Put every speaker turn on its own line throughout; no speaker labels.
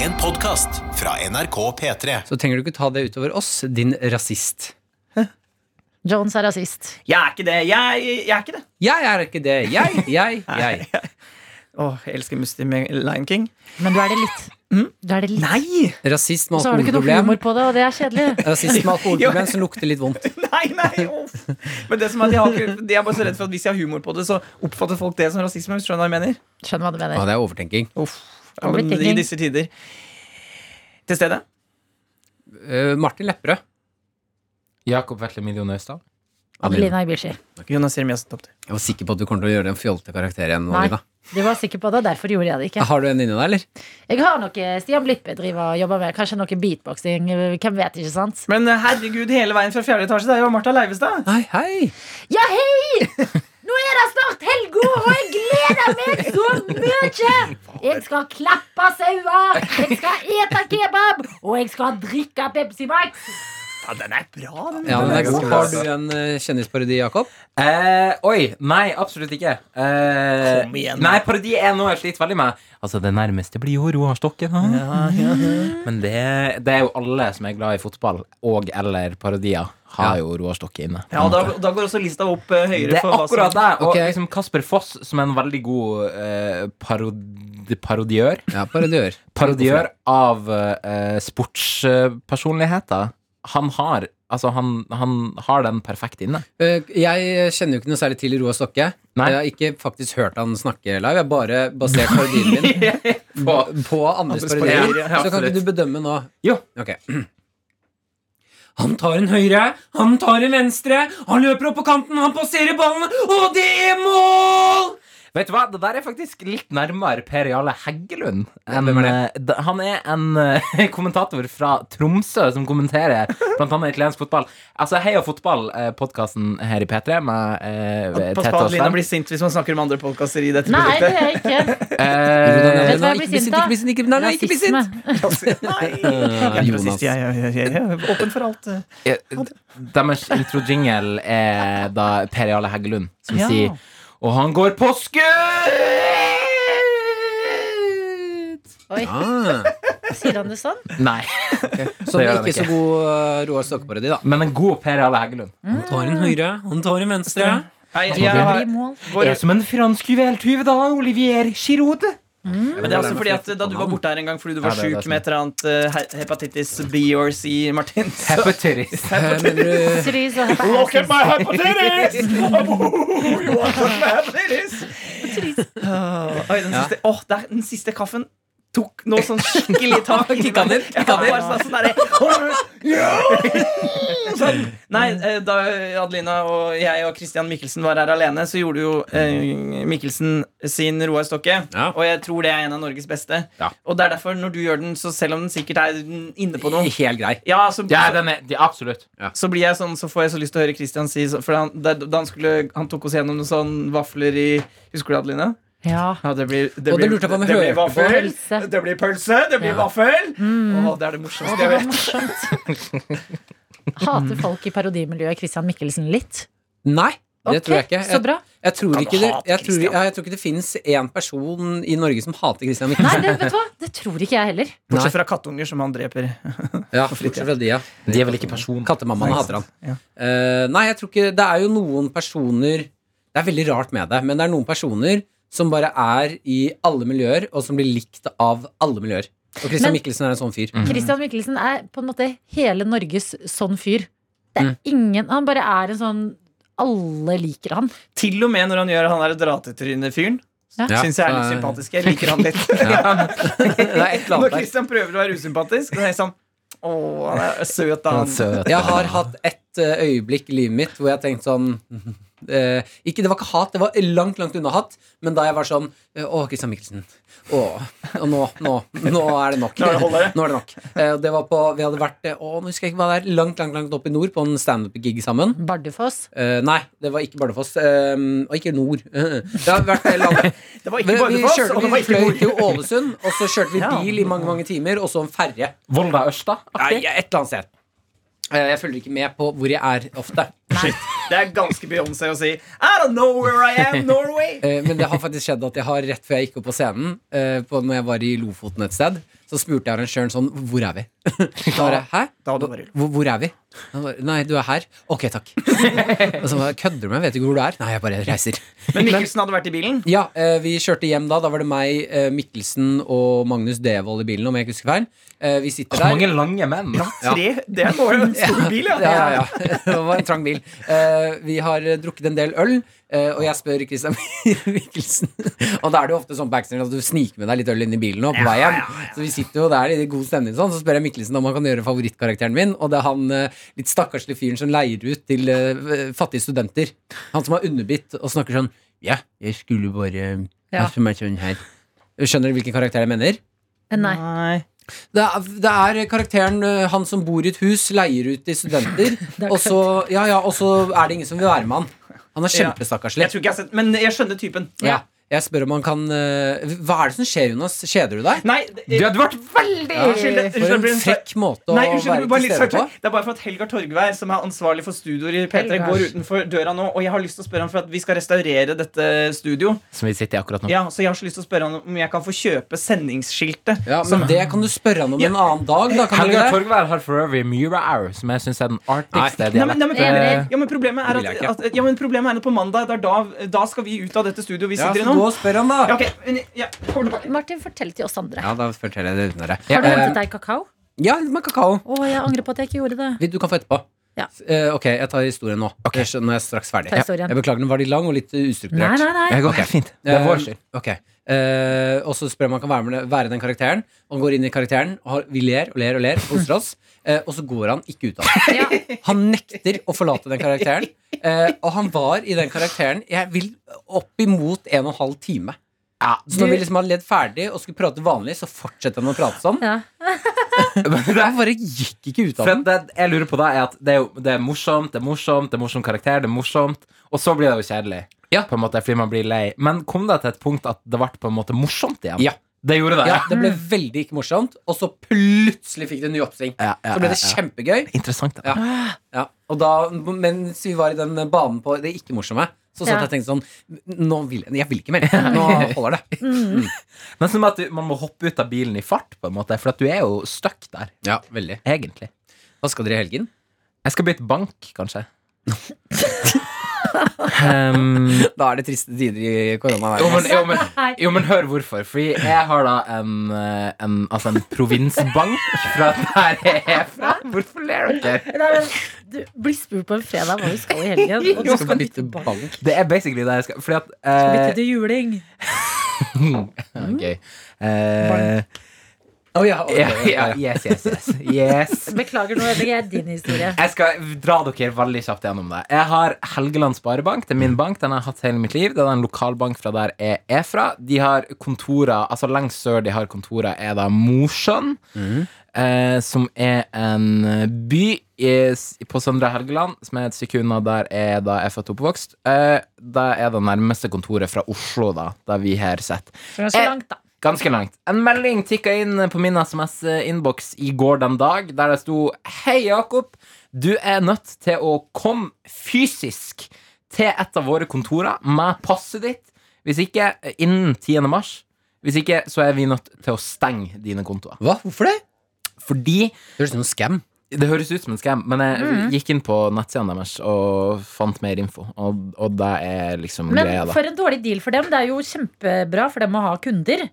En podcast fra NRK P3.
Så trenger du ikke ta det utover oss, din rasist.
Jones er rasist.
Jeg er ikke det. Jeg, jeg er ikke det.
Jeg er ikke det. Jeg, jeg, jeg.
Åh, jeg elsker Musti med Lion King.
Men du er det litt. Du er det litt.
Nei!
Rasist med
Og så har du ikke noe
alkoholproblem.
humor på det, og det er kjedelig.
Rasist med alkoholproblem som lukter litt vondt.
Nei, nei, uff. Men det som er, at jeg, har, ikke- jeg er bare så redd for at hvis jeg har humor på det, så oppfatter folk det som rasisme. hvis du Skjønner hva jeg mener?
Skjønner hva du
Ja,
mener.
det er overtenking.
Uff. Ja, men
Overthinking.
I disse tider. Til stede.
Eh, Martin Lepperød.
Jakob Vetle Million Øystad.
Jeg
Adelina Ibici.
Jonas Jeremiassen Topter.
var sikker på at du kommer til å gjøre en fjollete karakter igjen.
Nei.
Adelina.
Du var sikker på det, derfor gjorde jeg det ikke.
Har du en inni deg, eller?
Jeg har noe Stian Blippe driver og jobber med. Kanskje noe beatboxing. Hvem vet, ikke sant?
Men eh, herregud, hele veien fra fjerde etasje, det er jo Martha Leivestad.
Nei, hei!
Ja, hei! Nå er det snart helga, og jeg gleder meg så mye! Jeg skal klappe sauer, jeg skal ete kebab, og jeg skal drikke Pepsi Max.
Ja, den er bra, den.
Ja, men det er
ganske
god.
bra,
Har du en eh, kjendisparodi, Jakob?
Eh, oi! Nei, absolutt ikke. Eh,
Kom igjen.
Nei, Parodi er noe jeg sliter veldig med. Altså, Det nærmeste blir jo Roar Stokke. da. Men det, det er jo alle som er glad i fotball og- eller parodier, har jo Roar Stokke inne.
Ja, da, da går også lista opp eh, høyere.
Det er
for hva som-
akkurat det. Og
Ok.
liksom Kasper Foss, som er en veldig god eh, parod parodiør
Ja, parodiør.
Parodiør av eh, sportspersonligheter. Han har Altså, han, han har den perfekt inne.
Eh, Jeg kjenner jo ikke noe særlig til Roar Stokke.
Nei.
Jeg har ikke faktisk hørt han snakke live. Jeg har bare basert parodien min
På-
på andres
Andres
parodier.
parodier, ja,
Så kan
absolutt.
ikke du bedømme nå?
Jo.
Ok. Han tar en høyre, han tar en venstre, han løper opp på kanten, han passerer ballen, og det er mål!
Vet du hva, Det der er faktisk litt nærmere Per Jarle Heggelund. enn,
hvem er
eh, da- han er en eh, kommentator fra Tromsø som kommenterer bl.a. italiensk fotball. Altså Heia fotball-podkasten her i P3 med eh,
Pass
Tete
på
og
at Lina
Sven.
blir sint hvis man snakker om andre podkaster i dette
Nei, det
produktet.
er jeg ikke.
Eh,
Vet du hva jeg blir sint av?
Ikke bli sint, ikke bli sint!
Rasisme.
Nei. Jeg er ikke rasist,
Jonas.
jeg, jeg, jeg, jeg, jeg er åpen for alt. eh.
eh, Deres introjingle er da Per Jarle Heggelund som
Ja.
sier Og han går på skudd!
Oi,
Ah,
sier han det sånn?
Nei.
så
Det
det
gjør
er
han
ikke så
ikke.
god eh, Roar Stokke-parodi, da.
Men en god Per Jarle Heggelund.
Han tar en høyre, han tar en venstre.
Nei, jeg,
Det
har-
blir mål.
vår-
som en fransk juveltyv, da, Olivier Giroud.
Men det er også fordi at eh, Da du var borte her en gang fordi du var
Ja, det er det
syk
som er.
med et eller annet eh, he- hepatitis B or C, Martin så-
Hepatitis.
Eh, Mener du
Sorry, så heter jeg rasist.
Åh, Oi, den siste, åh, der, den siste kaffen tok nå sånn skikkelig tak i
Kikka den,
Ja,
kikka den.
bare sånn- sånn derre- Ja! Sånn. Nei, eh, da Adelina og jeg og Christian Mikkelsen var her alene, så gjorde jo eh, Mikkelsen sin Roar Stokke.
Ja.
Og jeg tror det er en av Norges beste.
Ja.
Og det er derfor, når du gjør den, så selv om den sikkert er inne på noe
Helt grei.
ja, så,
Ja, den er, de, absolutt.
så blir jeg sånn, så får jeg så lyst til å høre Christian si så- For han, da, da han, skulle, han tok oss gjennom noen sånn vafler i Husker du Adeline?
Ja.
Ja, det blir, det
Og det
blir-
lurte jeg på om jeg
det blir
hører på.
vaffel,
Pølse.
Det blir pølse, det blir vaffel
Mm.
Åh, Det er det morsomste jeg vet
Hater folk i parodimiljøet Christian Mikkelsen litt?
Nei, det
Ok,
tror jeg ikke.
Så
Jeg,
bra.
jeg, tror,
Kan du
ikke det,
hate
jeg, tror,
Christian?
ja, jeg tror ikke det finnes én person i Norge som hater Christian
Nei,
Mikkelsen.
det, vet du hva? det tror ikke jeg heller.
Bortsett fra kattunger som han dreper
Ja, bortsett fra de, ja.
De er vel ikke person...
Kattemammaen
Nei,
hater han.
ja.
Eh, nei, jeg tror ikke Det er jo noen personer Det er veldig rart med det, men det er noen personer som bare er i alle miljøer, og som blir likt av alle miljøer. Og Christian
Men-
Mikkelsen er en sånn fyr.
Christian Mikkelsen er på en måte hele Norges sånn fyr. Det
Mm.
er ingen, Han bare er en sånn Alle liker han.
Til og med når han gjør han der dratetryne-fyren
Ja.
Ja,
Synes jeg er litt
så-
sympatisk, jeg liker han litt
Det er et eller
Når
annet der.
Christian prøver å være usympatisk Så er jeg sånn, åh, han er søt da
Han
han.
er søt.
Jeg har hatt et eh, øyeblikk i livet mitt hvor jeg tenkte sånn eh, ikke, Det var ikke hat, det var langt langt unna hat. Men da jeg var sånn eh, Å, Christian Mikkelsen. Å, og nå, nå, nå er det nok.
Nå er det holder det.
Nå er det nok. Eh, og det var på, vi hadde vært eh, å, nå husker jeg ikke hva det er, langt langt, langt opp i nord på en standup-gig sammen.
Bardufoss.
Eh, nei, det var ikke Bardufoss. eh, og ikke nord. Eh, det har vært eh, langt.
Det
Vi,
var ikke
vi,
Bardufoss
kjørte,
og det var
vi
ikke
fløy
Nord-
til Ålesund, og så kjørte vi
Ja.
bil i mange mange timer, og så en ferje.
Volda Ørsta?
Nei, et eller annet sted. Eh, Jeg følger ikke med på hvor jeg er ofte.
Det er ganske Beyoncé å si I don't know where I am, Norway.
Eh, Men det har faktisk skjedd at jeg har rett før jeg gikk opp på scenen, eh, på når jeg var i Lofoten et sted, så spurte jeg arrangøren sånn Hvor er vi? Da var jeg, Hæ?
Da hadde du vært i
Hvor, hvor er vi? Han bare, Nei, du er her. Ok, takk. Og så bare, Kødder du med meg? Vet du ikke hvor du er? Nei, jeg bare reiser.
Men Mikkelsen hadde vært i bilen.
Ja, eh, vi kjørte hjem da. Da var det meg, eh, Mikkelsen og Magnus Devold i bilen, om jeg ikke husker feil. Eh, vi sitter der.
Mange lange menn.
Tre, det er bare en stor bil, ja.
Ja, ja, ja. Det var en trang bil. Eh, vi har eh, drukket en del øl, eh, og jeg spør Christian Mikkelsen Og da er det jo ofte sånn backstage at du sniker med deg litt øl inn i bilen og på vei hjem. Så vi sitter jo der i god stemning, sånn, så spør jeg Mikkelsen om han kan gjøre favorittkarakteren min, og det er han eh, litt stakkarslige fyren som leier ut til eh, fattige studenter. Han som har underbitt og snakker sånn Ja, jeg skulle bare
Ja.
ha for meg sånn her. Skjønner du hvilken karakter jeg mener?
Eh, Nei.
Nei.
Det er, det er karakteren ø, han som bor i et hus, leier ut til studenter, og så, ja, ja, og så er det ingen som vil være med han. Han er
Ja.
kjempestakkarslig.
Jeg tror ikke jeg har sett Men jeg skjønner typen.
Ja. Jeg spør om han kan ø, Hva er det som skjer, Jonas? Kjeder du deg?
Nei, det-
Du hadde vært
veldig Unnskyld. det-
For
unnskyld,
en
det blir en-
frekk måte å
Nei, unnskyld, bare
være
litt
til stede på.
sarkastisk. Det er bare for at Helgar Torgvær, som er ansvarlig for studioer i P3,
Helgar.
går utenfor døra nå, og jeg har lyst til å spørre ham for at vi skal restaurere dette studio.
Som vi sitter i akkurat nå.
Ja, så jeg har så lyst til å spørre ham om jeg kan få kjøpe sendingsskiltet.
Ja, men det kan du spørre han om en annen dag. Da, kan du
Helga
ikke det?
Torgvær har Forever Mura Hour, som jeg syns er den artigste
Nei, men, nei, men,
Eh,
problemet, ja, men problemet er
det vil jeg
at, at ja, men problemet er at på mandag det er da, da skal vi ut av dette studioet vi
Ja,
sitter i
så
nå.
gå og spør han, da.
Ja, ok, men, ja, kommer tilbake.
Martin, fortell til oss andre.
Ja, da forteller jeg det uten dere.
Har du
Eh,
hentet deg kakao?
Ja, litt med kakao.
Å, jeg angrer på at jeg ikke gjorde det.
Vil- Du kan få etterpå.
Ja.
Eh, ok, jeg tar historien nå. Jeg skjønner når jeg er straks ferdig.
Ta historien.
Jeg beklager, den var litt lang og litt ø, ustrukturert.
Nei, nei, nei.
Det går helt fint. Det er vår skyld.
Eh, ok. Eh, og så spør jeg om han kan være, med, være den karakteren. Og han går inn i karakteren, og har, vi ler og ler og ler og koser oss. Eh, og så går han ikke ut av det.
Ja.
Han nekter å forlate den karakteren. Eh, og han var i den karakteren jeg vil oppimot en og en halv time. Så når vi liksom hadde ledd ferdig og skulle prate vanlig, så fortsatte han å prate sånn.
Ja.
Jeg bare gikk ikke ut av
For
den.
det jeg lurer på da, er at det er, jo, det er morsomt, det er morsomt, det er morsom karakter, det er morsomt, og så blir det jo kjedelig.
Ja.
På en måte, fordi man blir lei. Men kom det til et punkt at det ble på en måte morsomt igjen?
Ja.
Det gjorde det.
Ja, det ble veldig ikke morsomt, og så plutselig fikk det en ny oppsving.
Ja, ja,
Så ble det
ja, ja.
kjempegøy.
Interessant. Da.
Ja. Ja, og da, mens vi var i den banen på det ikke-morsomme, så satt
Ja.
jeg og tenkte sånn Nå vil jeg, jeg vil ikke mer. Nå holder det.
Men som at du, man må hoppe ut av bilen i fart, på en måte, for at du er jo stuck der,
Ja, veldig
egentlig.
Hva skal dere i helgen?
Jeg skal bytte bank, kanskje. um,
Da er det triste tider i
jo,
koronaverdenen.
men, jo, men, jo, men hør hvorfor. Fordi jeg har da en, eh, en, altså en provinsbank fra der jeg er fra. Hvorfor ler dere?
Nei, men, du blir spurt på en fredag hva du skal i helgen. Og du
Du skal bytte bank.
Det er basically det jeg skal Fordi at
bytte
eh,
til juling.
Gøy. Eh,
Å, ja, ok,
ja,
ja,
ja,
ja.
yes, yes, yes. yes.
Beklager, nå ødelegger jeg din historie.
Jeg skal dra dere veldig kjapt gjennom det. Jeg har Helgeland Sparebank. Det er min bank. Den har jeg hatt hele mitt liv. Det er en lokalbank fra der jeg er fra. De har kontorer Altså Lengst sør de har kontorer, er da Mosjøen, eh, som er en by i, på Søndre Helgeland, som er et stykke unna der jeg da er født og oppvokst. Eh, det er det nærmeste kontoret fra Oslo, da, der vi har sett.
Det var så
Eh,
langt, da.
Ganske langt. En melding tikka inn på min SMS-innboks i går den dag, der det sto Hei, Jakob. Du er nødt til å komme fysisk til et av våre kontorer med passet ditt. Hvis ikke eh, innen 10. mars. Hvis ikke, så er vi nødt til å stenge dine kontoer.
Hva? Hvorfor det?
Fordi
Det høres ut som en scam.
det høres ut som en scam, men jeg
Mm.
gikk inn på nettsidene deres og fant mer info. Og, og det er liksom
Men
greia, da.
for en dårlig deal for dem. Det er jo kjempebra for dem å ha kunder.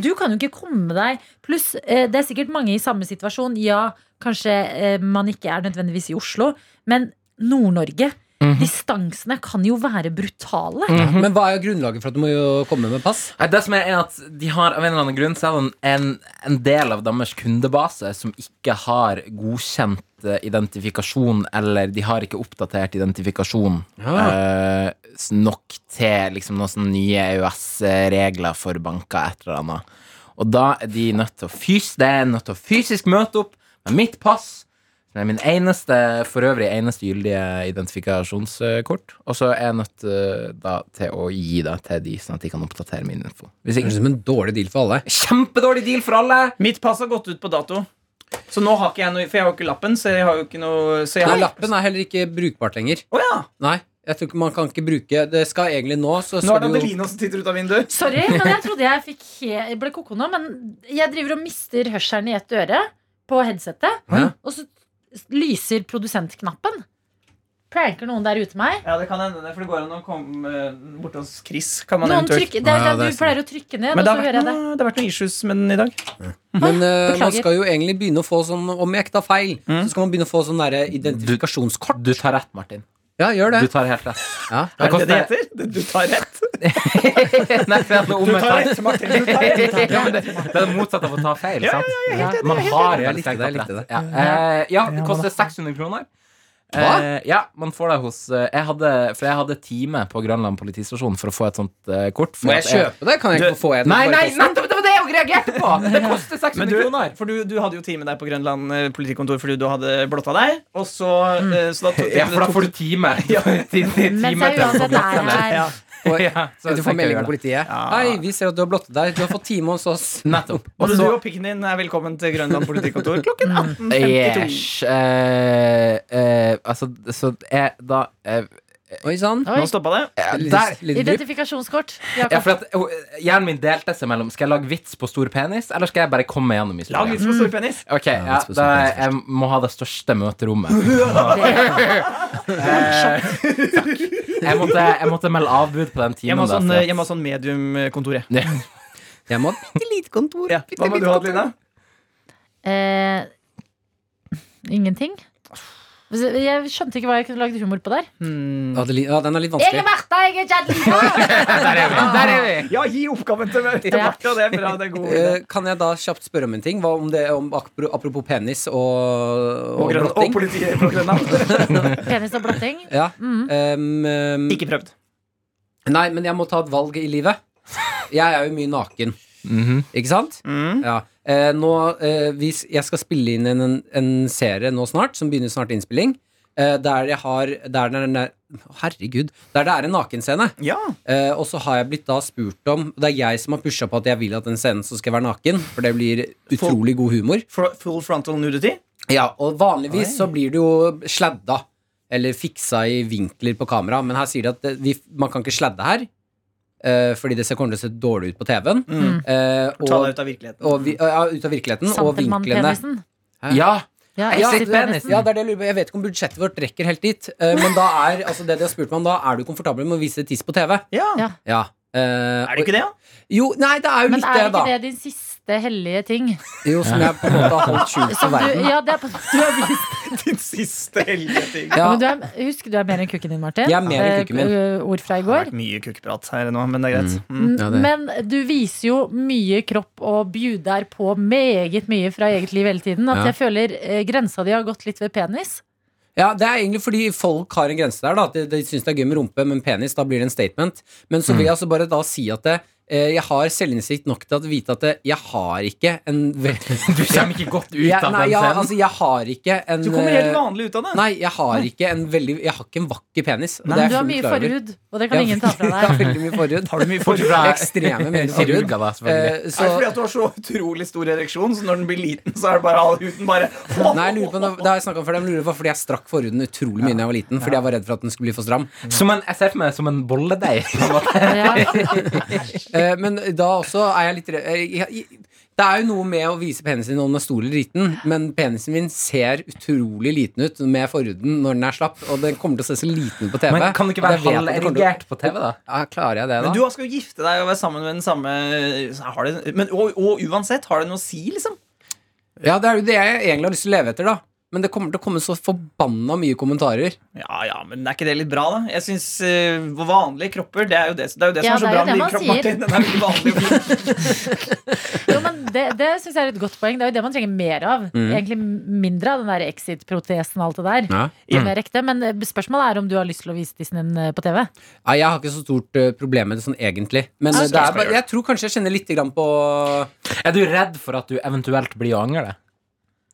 Du kan jo ikke komme deg Pluss, eh, det er sikkert mange i samme situasjon. Ja, kanskje eh, man ikke er nødvendigvis i Oslo, men Nord-Norge. Distansene kan jo være brutale.
Men hva er grunnlaget for at du må jo komme med pass?
Nei, Det som er, er at de har av en eller annen grunn Så er det en, en- en del av deres kundebase som ikke har godkjent eh, identifikasjon, eller de har ikke oppdatert identifikasjon
Ah.
eh, s- nok til liksom, noen sånne nye EØS-regler for banker, et eller annet. Og da er de nødt til å fys Det er nødt til å fysisk møte opp med mitt pass. Som er min eneste, for øvrig eneste gyldige identifikasjonskort. Og så er jeg nødt eh, da, til å gi det til de, sånn at de kan oppdatere min info. Hvis
Det
ikke,
høres ut som en dårlig deal for alle.
kjempedårlig deal for alle!
Mitt pass har gått ut på dato. Så nå har ikke jeg noe For jeg har jo ikke lappen, så jeg har jo ikke noe så jeg
Nei,
har,
lappen er heller ikke brukbart lenger.
Å ja!
Nei, jeg tror ikke man kan ikke bruke Det skal egentlig nå, så
Nå er
skal du
det
jo
Adeline som titter ut av vinduet.
Sorry, men jeg trodde jeg fikk he ble koko nå. Men jeg driver og mister hørselen i ett øre på headsetet.
Ja.
Og så lyser produsentknappen. Pranker noen der ute meg?
Ja, det kan hende det, for det går an å komme eh, bort hos Chris. Kan man
Noen
eventuelt
trykker, det er
Ja,
det
det er
du pleier å trykke ned, og
Men det
så
har,
hører jeg
vært
det.
noe, det har vært noe issues med den i dag.
Men eh, man
Beklager.
skal jo egentlig begynne å få sånn Om jeg ikke tar feil, så skal man begynne å få sånn derre identifikasjonskort.
Du tar rett, Martin.
Ja, gjør det.
Du tar helt rett.
Ja.
Er det
koster-
det det heter? Du tar rett.
Nei, for at
Du
det er om jeg
tar
tar
rett, Martin. Du tar rett.
Ja, men det, det er det motsatte av å ta feil, sant? Man har
Jeg
veldig
likte
sterkt
det, jeg likte
apparat.
det.
Ja, eh, ja, det koster 600 kroner.
Hva?
Eh, ja, man får det hos eh, jeg hadde, For jeg hadde time på Grønland politistasjon for å få et sånt eh, kort. for
Må
at
jeg kjøpe det? Kan jeg ikke
Du-
få en?
Nei,
bare
nei,
posten?
nettopp! Det var det jeg reagerte på! Det koster 600
Men du,
kroner.
for du, du hadde jo time der på Grønland eh, politikontor fordi du hadde blotta deg. Og så, eh, så da tok,
Ja, for da får du time. Ja, ti- ti-
Mens
time
jeg
til å få
uansett
plass
er
igjen der.
her.
ja.
Ja, så
Du
tenker
får
jeg
melding
gjør
på
det.
politiet. Hei, vi ser at du har blottet deg. Du har fått time hos oss.
Nettopp.
Både
Og
du
så-
og pikken din er velkommen til Grønland politikontor klokken 18.52.
Yes. Eh, eh, altså, så jeg da eh,
Oi sånn. sann.
Nå stoppa det.
Der!
Lille drypp.
Identifikasjonskort.
Ja,
Jakob.
for at oh, Hjernen min delte seg mellom Skal jeg lage vits på stor penis, eller skal jeg bare komme gjennom
Lag
historien?
vits på stor penis.
Ok, ja,
vits på stor
da
penis
Jeg må ha det største møterommet. Eh, jeg, måtte, jeg måtte melde avbud på den
Jeg
timen.
må ha sånn,
der,
jeg må ha sånn mediumkontor, jeg.
for at-
Jeg må ha et bitte lite kontor.
Ja. Hva må du ha, Lina?
Eh, ingenting. Jeg skjønte ikke hva jeg kunne lagd humor på der.
Adeline, ja, den er litt
Jeg er
vanskelig.
Martha, jeg er ikke Adelina.
Der er vi!
Ah!
Der er vi.
Ja, gi oppgaven til meg.
Ja.
Martha, det er bra. Det er god idé.
Eh, Kan jeg da kjapt spørre om en ting? Hva om det, om, apro- apropos penis og, og,
Og, Grønland, og
blotting.
politiet på Grønland.
Penis og blotting.
Ja. Em, em,
Ikke prøvd.
nei, men jeg må ta et valg i livet. Jeg er jo mye naken,
Mhm.
ikke sant? Ja. Eh, nå, eh, hvis jeg skal spille inn en, en, en serie nå snart, som begynner snart innspilling, eh, der jeg har der, den er- Herregud. Der det er en nakenscene.
Ja.
Eh, og så har jeg blitt da spurt om Det er jeg som har pusha på at jeg vil at den scenen så skal jeg være naken. For det blir utrolig god humor.
Fro- Full frontal nudity.
Ja, Og vanligvis så blir det jo sladda. Eller fiksa i vinkler på kamera. Men her sier de at det, vi, man kan ikke sladde her. eh, fordi det ser kommer til å se dårlig ut på TV-en.
Mm.
Eh,
Mm. Ta deg
og,
ut av virkeligheten.
og vi, ja, ut av virkeligheten. Og vinklene.
Santelmann-penisen.
Ja!
Ja,
Ja,
exit
penis.
penisen.
Ja, det er det jeg lurer på. Jeg vet ikke om budsjettet vårt rekker helt dit. eh, men da er altså det de har spurt meg om da, er du komfortabel med å vise tiss på TV?
Ja.
Ja.
Ja. eh,
Er det ikke det, da?
Jo, nei, det er jo
Men
litt det,
er
da.
ikke det din siste hellige ting?
Jo, som jeg på en måte har holdt skjult Ah, for
Som du,
verden.
ja, det er på, du har vist.
Din siste hellige ting.
Ja,
Men du er, husk, du er mer enn kukken din, Martin.
Jeg er mer enn kukken min.
Eh, Ord fra i
Det har
går.
vært mye kukkprat her nå, men det er greit. Mm.
Ja, det-
Men du viser jo mye kropp og bjuder på meget mye fra eget liv hele tiden. At
Ja.
jeg føler eh, grensa di har gått litt ved penis.
ja, det er egentlig fordi folk har en grense der. Da. at De, de syns det er gøy med rumpe, men penis, da blir det en statement. Men
Mm.
så vil jeg altså bare da si at det, eh, jeg har selvinnsikt nok til å vite at det, jeg har ikke en veldig
Du kommer ikke godt ut
jeg,
av
Nei,
den
ja,
scenen.
altså, jeg har ikke en
Du kommer
eh,
helt vanlig ut av det.
Nei, jeg har ikke en veldig Jeg har ikke en vakker penis. og det er
Men du har
jeg
mye
fullt klar over.
forhud, og det kan ingen ta fra
Jeg har
deg.
veldig mye forhud.
Har du mye
Bortsett
forhud?
fra
Ekstreme mengder forhud.
kirurger, da, selvfølgelig.
Eh,
Så...
så-
Fordi at du har så utrolig stor ereksjon, så når den blir liten, så er det bare all huden bare
Nei, jeg lurer på, det har jeg snakket om før, men jeg lurer på fordi jeg strakk forhuden utrolig mye da jeg var liten. Fordi jeg var redd for at den skulle bli for stram.
Eh, Som en, jeg ser for meg som en bolledeig. på en måte.
Ja.
Eh, men da også er jeg litt redd eh, jeg- Det er jo noe med å vise penisen din om den er stor eller liten, men penisen min ser utrolig liten ut med forhuden når den er slapp, og den kommer til å se så liten ut på TV.
Men kan det ikke
og
være
jeg vet at det kommer til å-
halverigert på TV, da?
Ja, klarer jeg det, da?
Men du skal jo gifte deg og være sammen med den samme så har det, men, og, og uansett, har det noe å si, liksom?
Ja, det er jo det jeg egentlig har lyst til å leve etter, da. Men det kommer til å komme så forbanna mye kommentarer.
Ja ja, men er ikke det litt bra, da? Jeg synes, eh, Vanlige kropper, det er jo det, det, er jo det
Ja, det er jo
som er så bra med
det
din
man
kropp,
sier.
Martin. Den er veldig vanlig og fin.
Jo, men det det syns jeg er et godt poeng. Det er jo det man trenger mer av. Egentlig mindre av den der exit-protesen og alt det der.
Mm. Ja. Mm.
Som er ekte, men eh, spørsmålet er om du har lyst til å vise tissen din eh, på TV.
Nei, jeg har ikke så stort eh, problem med det sånn egentlig. Men eh, det er
Ah, skal jeg
bare,
gjøre.
jeg tror kanskje jeg kjenner lite grann på
Er du redd for at du eventuelt blir å angre?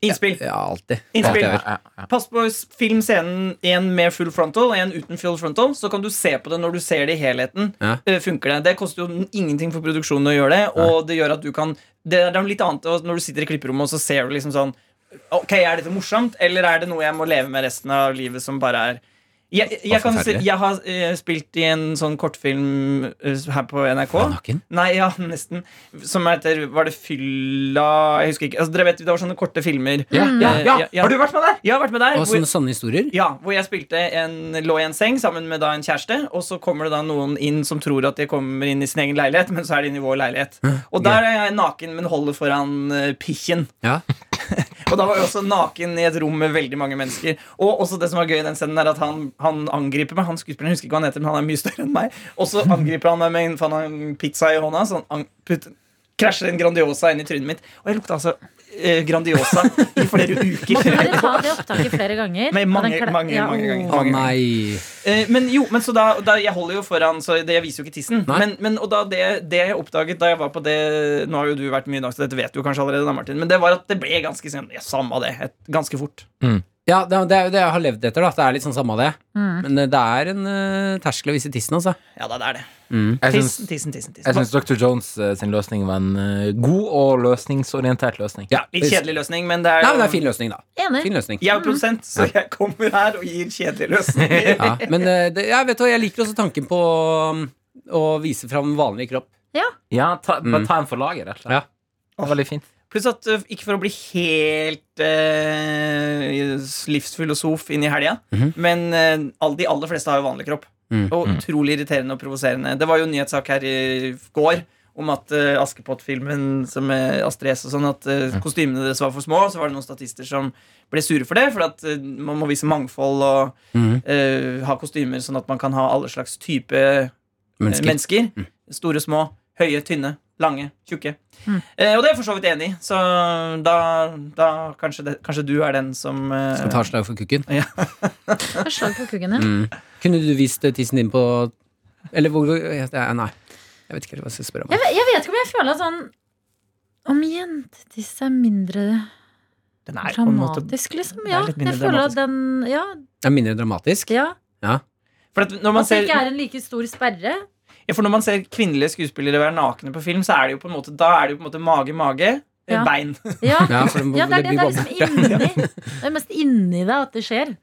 Innspill.
Ja, alltid.
Innspill.
Alltid.
Ja, ja.
Pass på s- film scenen en med full frontal og en uten full frontal. Så kan du se på det når du ser det i helheten.
Ja.
Eh, Funker Det Det koster jo n- ingenting for produksjonen å gjøre det. Og det gjør at du kan Det er det er noe litt annet og når du sitter i klipperommet og så ser du liksom sånn Ok, er dette morsomt, eller er det noe jeg må leve med resten av livet som bare er jeg, jeg, kan, si-
Forferdelig.
jeg har eh, spilt i en sånn kortfilm eh, her på NRK.
naken?
Nei, ja, nesten. Som heter Var det Fylla Jeg husker ikke. Altså, dere vet, Det var sånne korte filmer.
Ja,
Eh,
ja, ja.
ja, ja.
Har du vært med der?
Jeg har vært med der.
Og
hvor-
sånne sanne historier.
ja, hvor jeg spilte en, lå i en seng sammen med da en kjæreste, og så kommer det da noen inn som tror at de kommer inn i sin egen leilighet, men så er de inne i vår leilighet. Og der er jeg naken, men holder foran eh, pikken.
Ja.
Og da var jeg også naken i et rom med veldig mange mennesker. Og også det som var gøy i den scenen, er at han, han angriper meg. Han skuespilleren jeg husker ikke hva han heter, men han er mye større enn meg. Og så angriper han meg med en, faen, en pizza i hånda, så han ang- putt, krasjer en Grandiosa inn i trynet mitt. Og jeg lukta altså eh, Grandiosa i flere
Måtte
uker.
dere ta det opptaket flere ganger?
Med
Og den
mange-
kla-
mange- mange ganger.
Å nei.
Eh, men jo, men så da, da Jeg holder jo foran, så det, jeg viser jo ikke tissen.
Nei.
Men, men og da det, det jeg oppdaget da jeg var på det Nå har jo du vært mye i dag, så dette vet du jo kanskje allerede, da, Martin. Men det var at det ble ganske sånn ja, Samme det. Et, ganske fort.
Ja, det er det er jo det jeg har levd etter, da. Det er litt sånn samme av det.
Mm.
Men eh, det er en eh, terskel å vise tissen, altså.
Ja, da, det er det.
Jeg syns,
Tissen, tissen, tissen.
jeg
tissen.
syns Dr. Jones eh, sin løsning var en eh, god og løsningsorientert løsning.
Ja,
Litt kjedelig løsning, men det er
Nei, men
jo
det er en fin løsning, da.
Enig.
Fin løsning.
Jeg er jo produsent, så jeg kommer her og gir kjedelige løsninger.
Ja. Men eh, det, jeg, vet, hva, jeg liker også tanken på um, å vise fram vanlig kropp.
Ja, ta, bare ta en for laget, rett og slett.
Ja.
Det er veldig fint.
Pluss at ø, ikke for å bli helt eh, livsfilosof inn i helga, men eh, all, de aller fleste har jo vanlig kropp.
Mhm.
Og utrolig irriterende og provoserende. Det var jo en nyhetssak her i går om at eh, Askepott-filmen som med Astrid S og sånn, at eh, kostymene deres var for små. Så var det noen statister som ble sure for det, for at eh, man må vise mangfold og eh, ha kostymer sånn at man kan ha alle slags type
Mennesker. Mm.
mennesker. Eh, mennesker. Store, små, høye, tynne, lange, tjukke.
Mm.
Eh, og det er jeg for så vidt enig i, så da, da kanskje, det, kanskje du er den som eh,
Som tar slag for kukken. Mm.
Ta Slag på kukken, ja.
Mm.
Kunne du vist eh, tissen din på Eller hvor ja, det er- Nei. Jeg vet ikke hva jeg skal spørre om.
Jeg, ve- jeg vet ikke om jeg føler at sånn Om jentetiss er mindre
Den er på en måte
dramatisk, liksom.
det er
Ja,
litt mindre
jeg føler at
dramatisk. den
den Ja.
Det er mindre dramatisk.
ja.
For, at når man
At det
ser,
ikke er en like stor sperre.
ja, for når man ser kvinnelige skuespillere være nakne på film, så er det jo på en måte, da er det jo på en måte mage, mage, eh,
Ja.
bein.
Ja,
Ja, for det, må-
ja det, er
blir
det, det er
bare
liksom
borte.
inni. Det er mest inni deg at det skjer.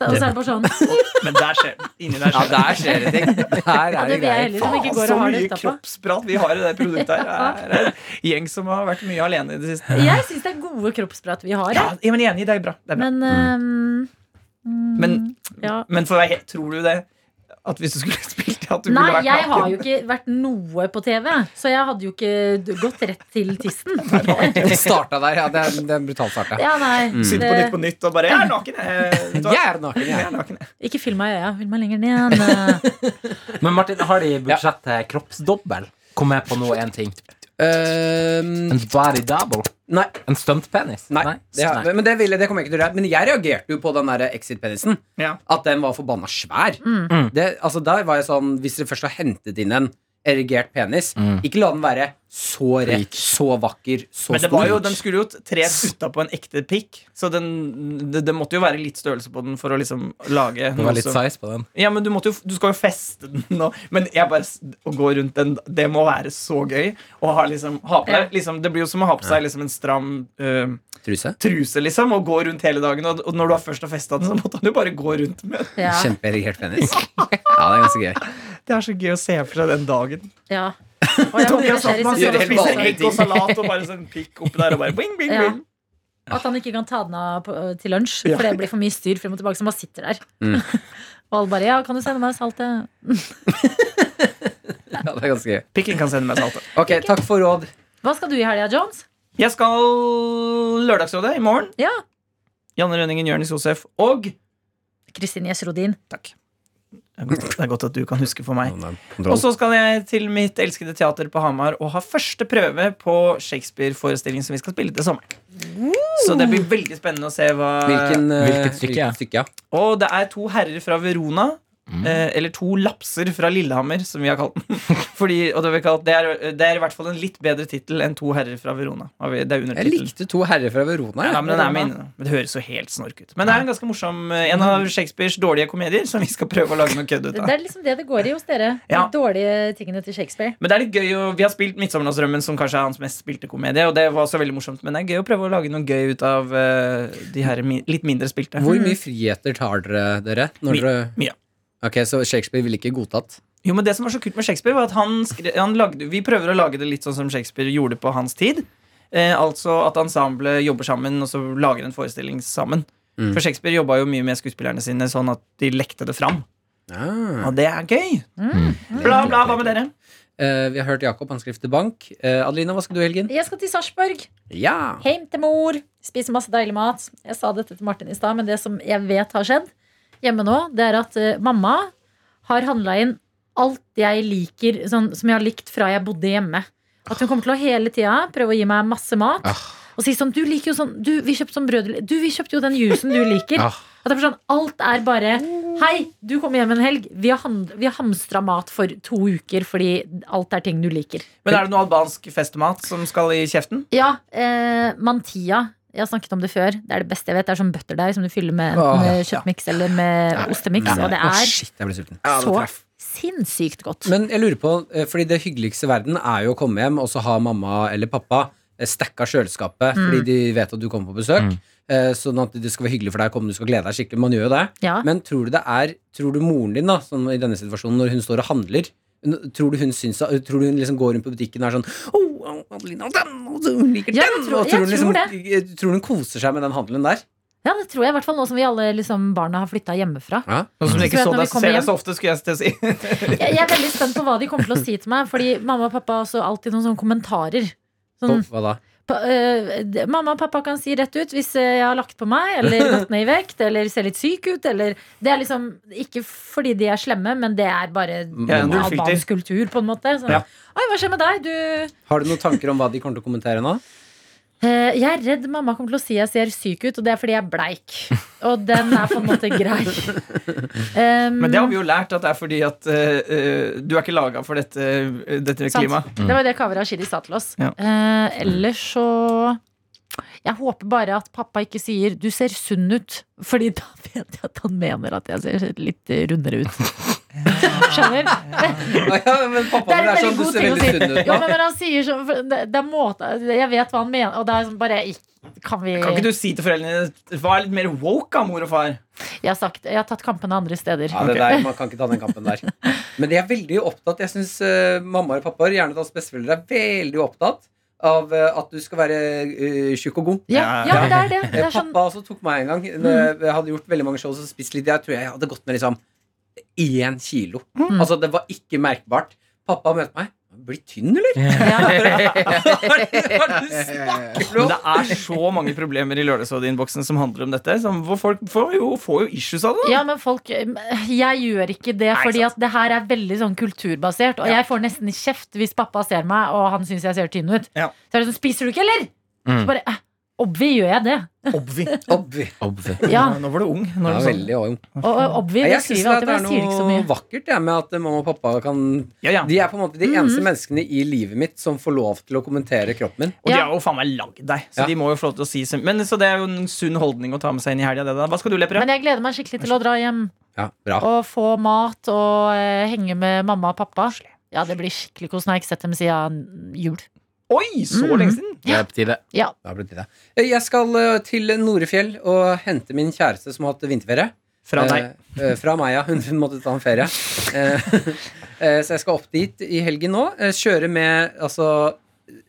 Og så er det bare sånn
Men der skjer Inni der
Ja,
skjer
der skjer det ting. Der er
Ja,
det
det vil jeg
greier.
heller som ikke går
så
og har det
mye
utapå.
kroppsprat vi har i det produktet her. Det er en gjeng som har vært mye alene i det siste.
Jeg syns det er gode kroppsprat vi har.
Ja,
jeg.
men enig, det er bra. Det er bra.
Men øhm, mm,
Men-
ja.
Men for å være helt, tror du det? At hvis du skulle spilt det, at du
Nei,
ville vært
jeg har
naken?
jo ikke vært noe på TV, så jeg hadde jo ikke gått rett til tissen.
Det starta der, ja. Det er, det er en brutal start, ja.
Ja, nei Eh,
Sitte Mm. på Nytt på Nytt og bare 'Jeg er naken', jeg. Vet du hva?
Jeg er naken,
Jeg
jeg.
er naken, jeg.
Ikke film meg i øya. Film meg lenger ned. Eh,
Men Martin, har de budsjett til kroppsdobbel? Kom med på noe én ting.
Øhm,
En body double?
nei.
En stuntpenis?
Nei, det, har- men det, ville, det kommer jeg ikke til å gjøre. Men jeg reagerte jo på den der exit-penisen.
Ja.
At den var forbanna svær.
Mm.
Det, altså Der var jeg sånn Hvis dere først har hentet inn en erigert penis,
Mm.
ikke la den være så rett, så vakker, så
Men det
stor.
var jo, den skulle jo tres utapå en ekte pikk, så den, det, det måtte jo være litt størrelse på den for å liksom lage
Det
noe
var litt
som-
size på den.
Ja, men du, måtte jo, du skal jo feste den nå. Men jeg bare, s- å gå rundt den Det må være så gøy å ha, liksom, ha på deg. Liksom, det blir jo som å ha på seg liksom, en stram øh,
Truse.
truse, liksom, og gå rundt hele dagen. Og, og når du har først har festa den, så måtte han jo bare gå rundt med den.
Ja,
Kjempeerigert penis. Ja, det er ganske gøy.
Det er så gøy å se for seg den dagen.
ja. Og jeg håper det skjer i
man
gjør
står
helt
og
vanlige
sesong
spiser
også.
egg og salat og bare sånn pikk oppi der og bare bing, bing,
Ja.
bing.
At han ikke kan ta den av på- eh, til lunsj, for det blir for mye styr frem og tilbake. Som bare sitter der. Og alle bare 'ja, kan du sende meg eh? saltet'?
Ja, det er ganske gøy.
Pikken kan sende meg saltet.
Ok, takk for råd.
Hva skal du i helga, Jones?
Jeg skal Lørdagsrådet i morgen.
Ja.
Janne Rønningen, Jonis Josef og
Kristin Gjess Rodin.
Takk. Det er godt- det er godt at du kan huske for meg. Og
Og så-
så skal jeg til mitt elskede teater på Hamar og ha første prøve på Shakespeare-forestilling som vi skal spille til sommeren. Så det blir veldig spennende å se hva
Hvilken, eh,
Hvilket stykke, ja.
hvilket stykke ja.
Og det er to herrer fra Verona eh, eller to lapser fra Lillehammer, som vi har kalt den. Fordi, og det, har vi kalt, det, er, det er i hvert fall en litt bedre tittel enn To herrer fra Verona. Har vi- Det er
Jeg
undertittelen.
likte to herrer fra Verona. jeg.
Ja, men den er med inne, da. Men Det høres jo helt snork ut. Men det er en ganske morsom eh, En av Shakespeares dårlige komedier som vi skal prøve å lage noe kødd ut
Det
av.
er liksom det det går i hos dere.
Ja.
De dårlige tingene til Shakespeare.
Men det er litt gøy å, Vi har spilt 'Midtsommernattsdrømmen', som kanskje er hans mest spilte komedie. Og det var også veldig morsomt Men det er gøy å prøve å lage noe gøy ut av eh, de her mi, litt mindre spilte.
Hvor
Mhm.
mye friheter tar dere, dere? Når
Mi-
dere...
mye.
Ok, Så Shakespeare ville ikke godtatt?
Jo, men Det som var så kult med Shakespeare, var at han skre, han lagde, vi prøver å lage det litt sånn som Shakespeare gjorde på hans tid. Eh, altså at ensemblet jobber sammen og så lager en forestilling sammen.
Mm.
For Shakespeare jobba jo mye med skuespillerne sine sånn at de lekte det fram.
Ah.
Og det er gøy!
Mm.
Bla, bla, hva med dere?
Eh, vi har hørt Jakob, han skriver til bank. Eh, Adelina, hva skal du i helgen?
Jeg skal til Sarpsborg.
Ja!
Heim til mor. Spise masse deilig mat. Jeg sa dette til Martin i stad, men det som jeg vet har skjedd hjemme nå, det er at eh, mamma har handla inn alt jeg liker, sånn, som jeg har likt fra jeg bodde hjemme. At hun kommer til å hele tida prøve å gi meg masse mat. Og si sånn, du liker jo sånn du, Vi kjøpte sånn brød Du, vi kjøpte jo den juicen du liker.
Ah.
At det er sånn, Alt er bare Hei, du kommer hjem en helg. Vi har, hand- vi har hamstra mat for to uker fordi alt er ting du liker.
Men er det noe albansk festmat som skal i kjeften?
Ja, eh, mantia. Jeg har snakket om det før. Det er det beste jeg vet. Det er sånn butterdeig som du fyller med
Åh,
enten med kjøttmiks eller med ostemiks. Og det
Å,
er
shit, jeg ble sulten.
så sinnssykt godt.
Men jeg lurer på, eh, fordi det hyggeligste i verden er jo å komme hjem, og så har mamma eller pappa eh, stacka
Mm.
kjøleskapet fordi de vet at du kommer på besøk. eh, Sånn at det skal være hyggelig for deg å komme, du skal glede deg skikkelig. Man gjør jo det.
Ja.
Men tror du det er Tror du moren din, da, som i denne situasjonen, når hun står og handler n- Tror du hun syns Tror du hun liksom går rundt på butikken og er sånn oh, Adelina, den, og hun liker den
Ja, jeg tror-
og tror,
jeg
hun
tror
liksom, tror hun koser seg med den handelen der?
Ja, det tror jeg i hvert fall nå som vi alle liksom, barna har flytta hjemmefra.
Noe som
ikke
ikke
så
så
Når vi deg- kommer ser deg hjem.
så ofte, skulle jeg til å si.
Jeg, jeg er veldig spent på hva de kommer til å si til meg, fordi mamma og pappa har også alltid noen sånne kommentarer. Sånn,
Hva da?
pa, øh, d- mamma og pappa kan si rett ut hvis øh, jeg har lagt på meg, eller gått ned i vekt, eller ser litt syk ut, eller Det er liksom ikke fordi de er slemme, men det er bare
Ja,
Mamma.
null filter.
albansk kultur, på en måte. Sånn.
Ja.
Oi, hva skjer med deg? Du
Har du noen tanker om hva de kommer til å kommentere nå?
Eh, Jeg er redd mamma kommer til å si jeg ser syk ut, og det er fordi jeg er bleik. Og den er på en måte grei. Um,
Men det har vi jo lært, at det er fordi at eh, eh, du er ikke laga for dette, eh, dette
sant.
klimaet.
Det var jo det Kaveh Rashidi sa til oss.
Ja.
Eh, ellers så Jeg håper bare at pappa ikke sier 'du ser sunn ut', Fordi da vet jeg at han mener at jeg ser litt rundere ut. Skjønner?
men
Det
pappa
er en veldig
du
god
ser
ting å
veldig
si.
sunn ut
Jo,
nå.
men, men han sier så, for det, det er måte, Jeg vet hva han mener, og det er sånn bare ikk- Kan vi
Kan ikke du si til foreldrene dine Vær litt mer woke, da, mor og far?
jeg, har sagt, jeg har tatt kampene andre steder.
Ja, det der, Man kan ikke ta den kampen der. Men de er veldig opptatt. Jeg syns mammaer og pappaer, gjerne deres besteforeldre, er veldig opptatt av eh, at du skal være eh, tjukk og god.
Ja, ja, men det er det.
Eh,
det er sånn, Mm.
Pappa også tok meg en gang. Når jeg hadde gjort veldig mange shows og spist litt. Jeg tror jeg hadde gått ned liksom én kilo.
Mm.
Altså, det var ikke merkbart. Pappa møtte meg. Blir tynn, eller? Hva er det hva er det du snakker
Men
om?
det er så mange problemer i Lørdagsrådet-innboksen som handler om dette. Som hvor folk får jo, får jo issues av det.
Ja, men folk Jeg gjør ikke det,
Nei,
fordi
sant.
at det her er veldig sånn kulturbasert. Og jeg får nesten kjeft hvis pappa ser meg, og han syns jeg ser tynn ut.
Ja.
Så er det sånn Spiser du ikke, eller? Så
Mm.
bare eh, Obvi gjør jeg det.
Obvi.
Obvi.
Obvi.
Ja,
Nå var du ung. Nå
Ja,
er du sånn.
veldig ung.
og, og obvi det
Jeg syns
skriver
det
jeg alltid,
er
men jeg sier ikke så
noe
mye.
vakkert jeg, med at eh, mamma og pappa kan
Ja, Mhm. ja.
De er på en måte de eneste menneskene i livet mitt som får lov til å kommentere kroppen min.
Og de
Ja.
har jo faen meg lagd deg, så
Ja.
de må jo få lov til å si sin- Men så det er jo en sunn holdning å ta med seg inn i helga. det da. Hva skal du, Lepperød?
Men jeg gleder meg skikkelig til å dra hjem
Ja, bra.
og få mat og eh, henge med mamma og pappa. Ja, det blir skikkelig kos når jeg ikke har sett dem siden jul.
Oi, så
Mhm.
lenge siden!
Det er på tide.
Ja,
Da blir det det. Jeg skal eh, til Norefjell og hente min kjæreste som har hatt vinterferie.
Fra deg.
Eh, eh, fra meg, ja. Hun hun måtte ta en ferie. Eh, eh, så jeg skal opp dit i helgen nå. Eh, kjøre med altså,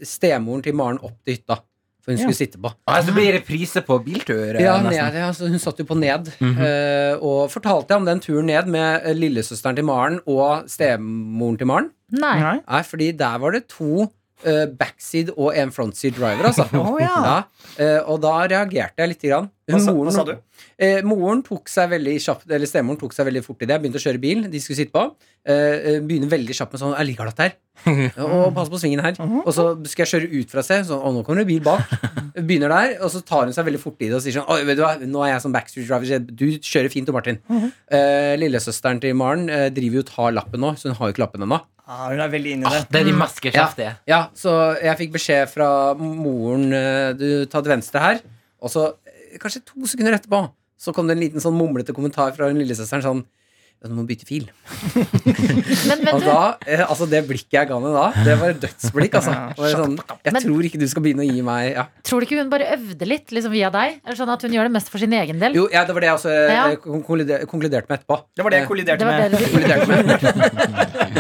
stemoren til Maren opp til hytta. For hun
Ja.
skulle sitte på.
Ah, så blir det reprise på biltur. eh,
Ja,
nesten.
ned, ja, så Altså, hun satt jo på ned. eh, og fortalte jeg om den turen ned med eh, lillesøsteren til Maren og stemoren til Maren.
nei.
Nei.
Nei, fordi der var det to eh, backseat og en frontseat driver, altså.
Å, ja.
eh, og da reagerte jeg lite grann.
Hva sa- hva sa du?
Eh, moren tok seg veldig kjapt Eller stemoren tok seg veldig fort i det. Begynte å kjøre bil. De skulle sitte på. Eh, eh, begynner veldig kjapt med sånn 'Jeg liker dette her'. Og pass på svingen her.
Mhm.
Og så skal jeg kjøre ut fra seg. Sånn, å, nå kommer det bil bak. Begynner der, og så tar hun seg veldig fort i det og sier sånn Oi, vet du hva, nå er jeg som backstreet driver. så Du kjører fint, du, Martin.
Mhm.
Eh, lillesøsteren til Maren eh, driver jo og tar lappen nå, så hun har jo ikke lappen ennå.
Ah, hun er veldig inne i det.
Det er de mest geskjeftige.
Ja, så jeg fikk beskjed fra moren eh, Du, ta til venstre her. Og så, eh, kanskje to sekunder etterpå, så kom det en liten sånn mumlete kommentar fra hun lillesøsteren sånn «Ja, du må bytte fil.
Men vet
Og
du,
da, eh, altså Det blikket jeg ga henne da, det var et dødsblikk. Altså. Det var sånn, jeg
Men-
tror ikke du skal begynne å gi meg ja.
tror du ikke hun bare øvde litt liksom via deg? Er det sånn at hun gjør det mest for sin egen del?
Jo, ja, det var det jeg også eh,
Ja.
kon- konkluder- konkluderte med etterpå.
Det var det
Eh,
jeg
Det
kolliderte
var
med.
det du
konkluderte med.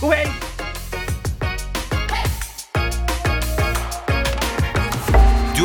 God helg!
Du